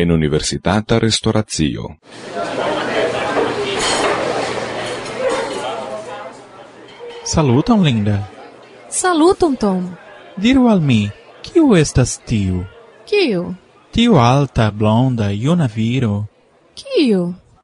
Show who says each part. Speaker 1: en universitata restoracio.
Speaker 2: Saluton, Linda.
Speaker 3: Saluton, Tom.
Speaker 2: Diru al mi, kiu estas tiu?
Speaker 3: Kiu?
Speaker 2: Tiu alta, blonda, juna viro.
Speaker 3: Kiu?